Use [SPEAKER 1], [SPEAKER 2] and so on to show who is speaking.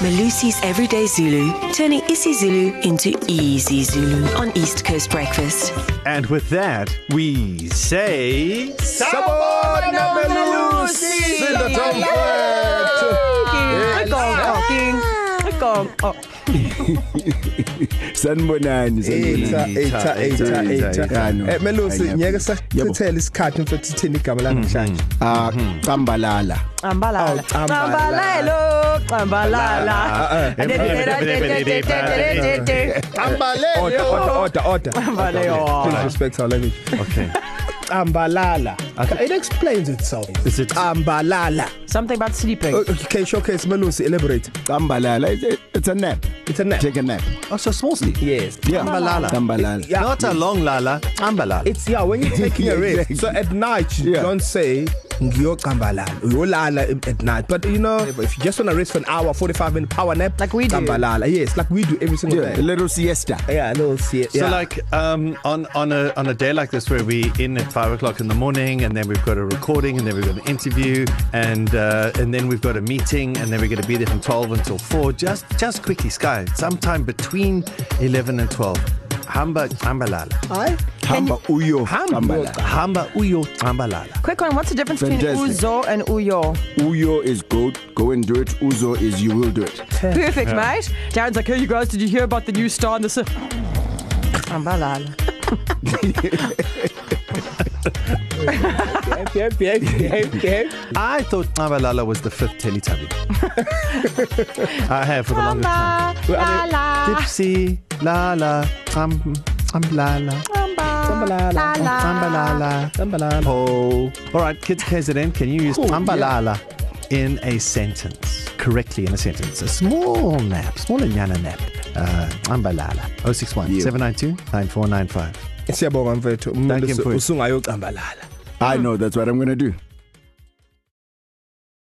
[SPEAKER 1] Malusi's Everyday Zulu, turning isiZulu into easy Zulu on East Coast Breakfast.
[SPEAKER 2] And with that, we say.
[SPEAKER 3] Sabona Melusi!
[SPEAKER 2] Sinda Tom
[SPEAKER 4] oh,
[SPEAKER 5] sanibonani
[SPEAKER 3] Etha
[SPEAKER 5] sanibonani
[SPEAKER 3] etha etha
[SPEAKER 5] etha,
[SPEAKER 3] etha.
[SPEAKER 5] etha.
[SPEAKER 3] Eh Melusi
[SPEAKER 5] Hayi,
[SPEAKER 3] ngeke
[SPEAKER 5] ngiyabonga. Yebo.
[SPEAKER 3] sachithele isikhathi mfethu sithini igama lanamhlanje.
[SPEAKER 5] ah cambalala
[SPEAKER 4] Cambalala.
[SPEAKER 3] Oh, Cambalala.
[SPEAKER 4] Cambalalo, cambalala.
[SPEAKER 3] Order order order order. Please
[SPEAKER 4] Cambalalo.
[SPEAKER 3] respect our language.
[SPEAKER 2] Okay.
[SPEAKER 3] Ambalala. Okay. It explains itself.
[SPEAKER 2] Is it-
[SPEAKER 3] Ambalala?
[SPEAKER 4] Something about sleeping.
[SPEAKER 3] Okay, showcase Melusi elaborate.
[SPEAKER 5] cambalala It's a- it's a nap
[SPEAKER 3] It's a nap.
[SPEAKER 5] take a nap
[SPEAKER 2] Oh, so small sleep.
[SPEAKER 3] Yes.
[SPEAKER 5] yeah
[SPEAKER 2] Cambalala.
[SPEAKER 5] cambalala
[SPEAKER 3] Yeah.
[SPEAKER 2] Not a long lala, ambalala.
[SPEAKER 3] It's yeah when you're taking a rest.
[SPEAKER 5] Exactly.
[SPEAKER 3] So at night you
[SPEAKER 5] Yeah.
[SPEAKER 3] yeah. don't say ngiyocambalala. Uyolala at night. But you know if you just want to rest for an hour 45 minute power nap
[SPEAKER 4] Like we do.
[SPEAKER 3] Cambalala. Yes, like we do every single
[SPEAKER 5] yeah a
[SPEAKER 3] day.
[SPEAKER 5] little siesta
[SPEAKER 3] Yeah, a little siesta.
[SPEAKER 2] So
[SPEAKER 3] Yeah.
[SPEAKER 2] like um, on on a on a day like this where we in at five o'clock in the morning and then we've got a recording and then we've got an interview and uh, and then we've got a meeting and then we're going to be there from twelve until four. Just just quickly, Sky, sometime between eleven and twelve. Hamba ambalala.
[SPEAKER 3] Hi.
[SPEAKER 5] hamba uyo cambalala
[SPEAKER 2] Hamba uyo ambalala.
[SPEAKER 4] Quick one, what's the difference between
[SPEAKER 5] Fantastic.
[SPEAKER 4] uzo and uyo?
[SPEAKER 5] uyo is go go and do it uzo is you will do it
[SPEAKER 4] Perfect, mate. Darren's like, hey, you guys, did you hear about the new star in the... s-" Cambalala.
[SPEAKER 3] Behave, behave, behave, behave.
[SPEAKER 2] I thought ambalala was the fifth Teletubby. I have for the longest time.
[SPEAKER 4] Cambalala.
[SPEAKER 2] Gypsy lala am ambalala. Ambalala.
[SPEAKER 3] Cambalala.
[SPEAKER 2] Oh. All right, kids KZN, can you use cool, ambalala yeah. in a sentence? Correctly in a sentence. A small nap, small nyana nap. Uh, Oh ambalala. 061
[SPEAKER 5] Yeah.
[SPEAKER 2] 792 9495.
[SPEAKER 3] Siyabonga mfethu.
[SPEAKER 2] Thank you,
[SPEAKER 3] Umuntu
[SPEAKER 2] mfowethu.
[SPEAKER 3] usungayocambalala.
[SPEAKER 5] i know that's what i'm going to do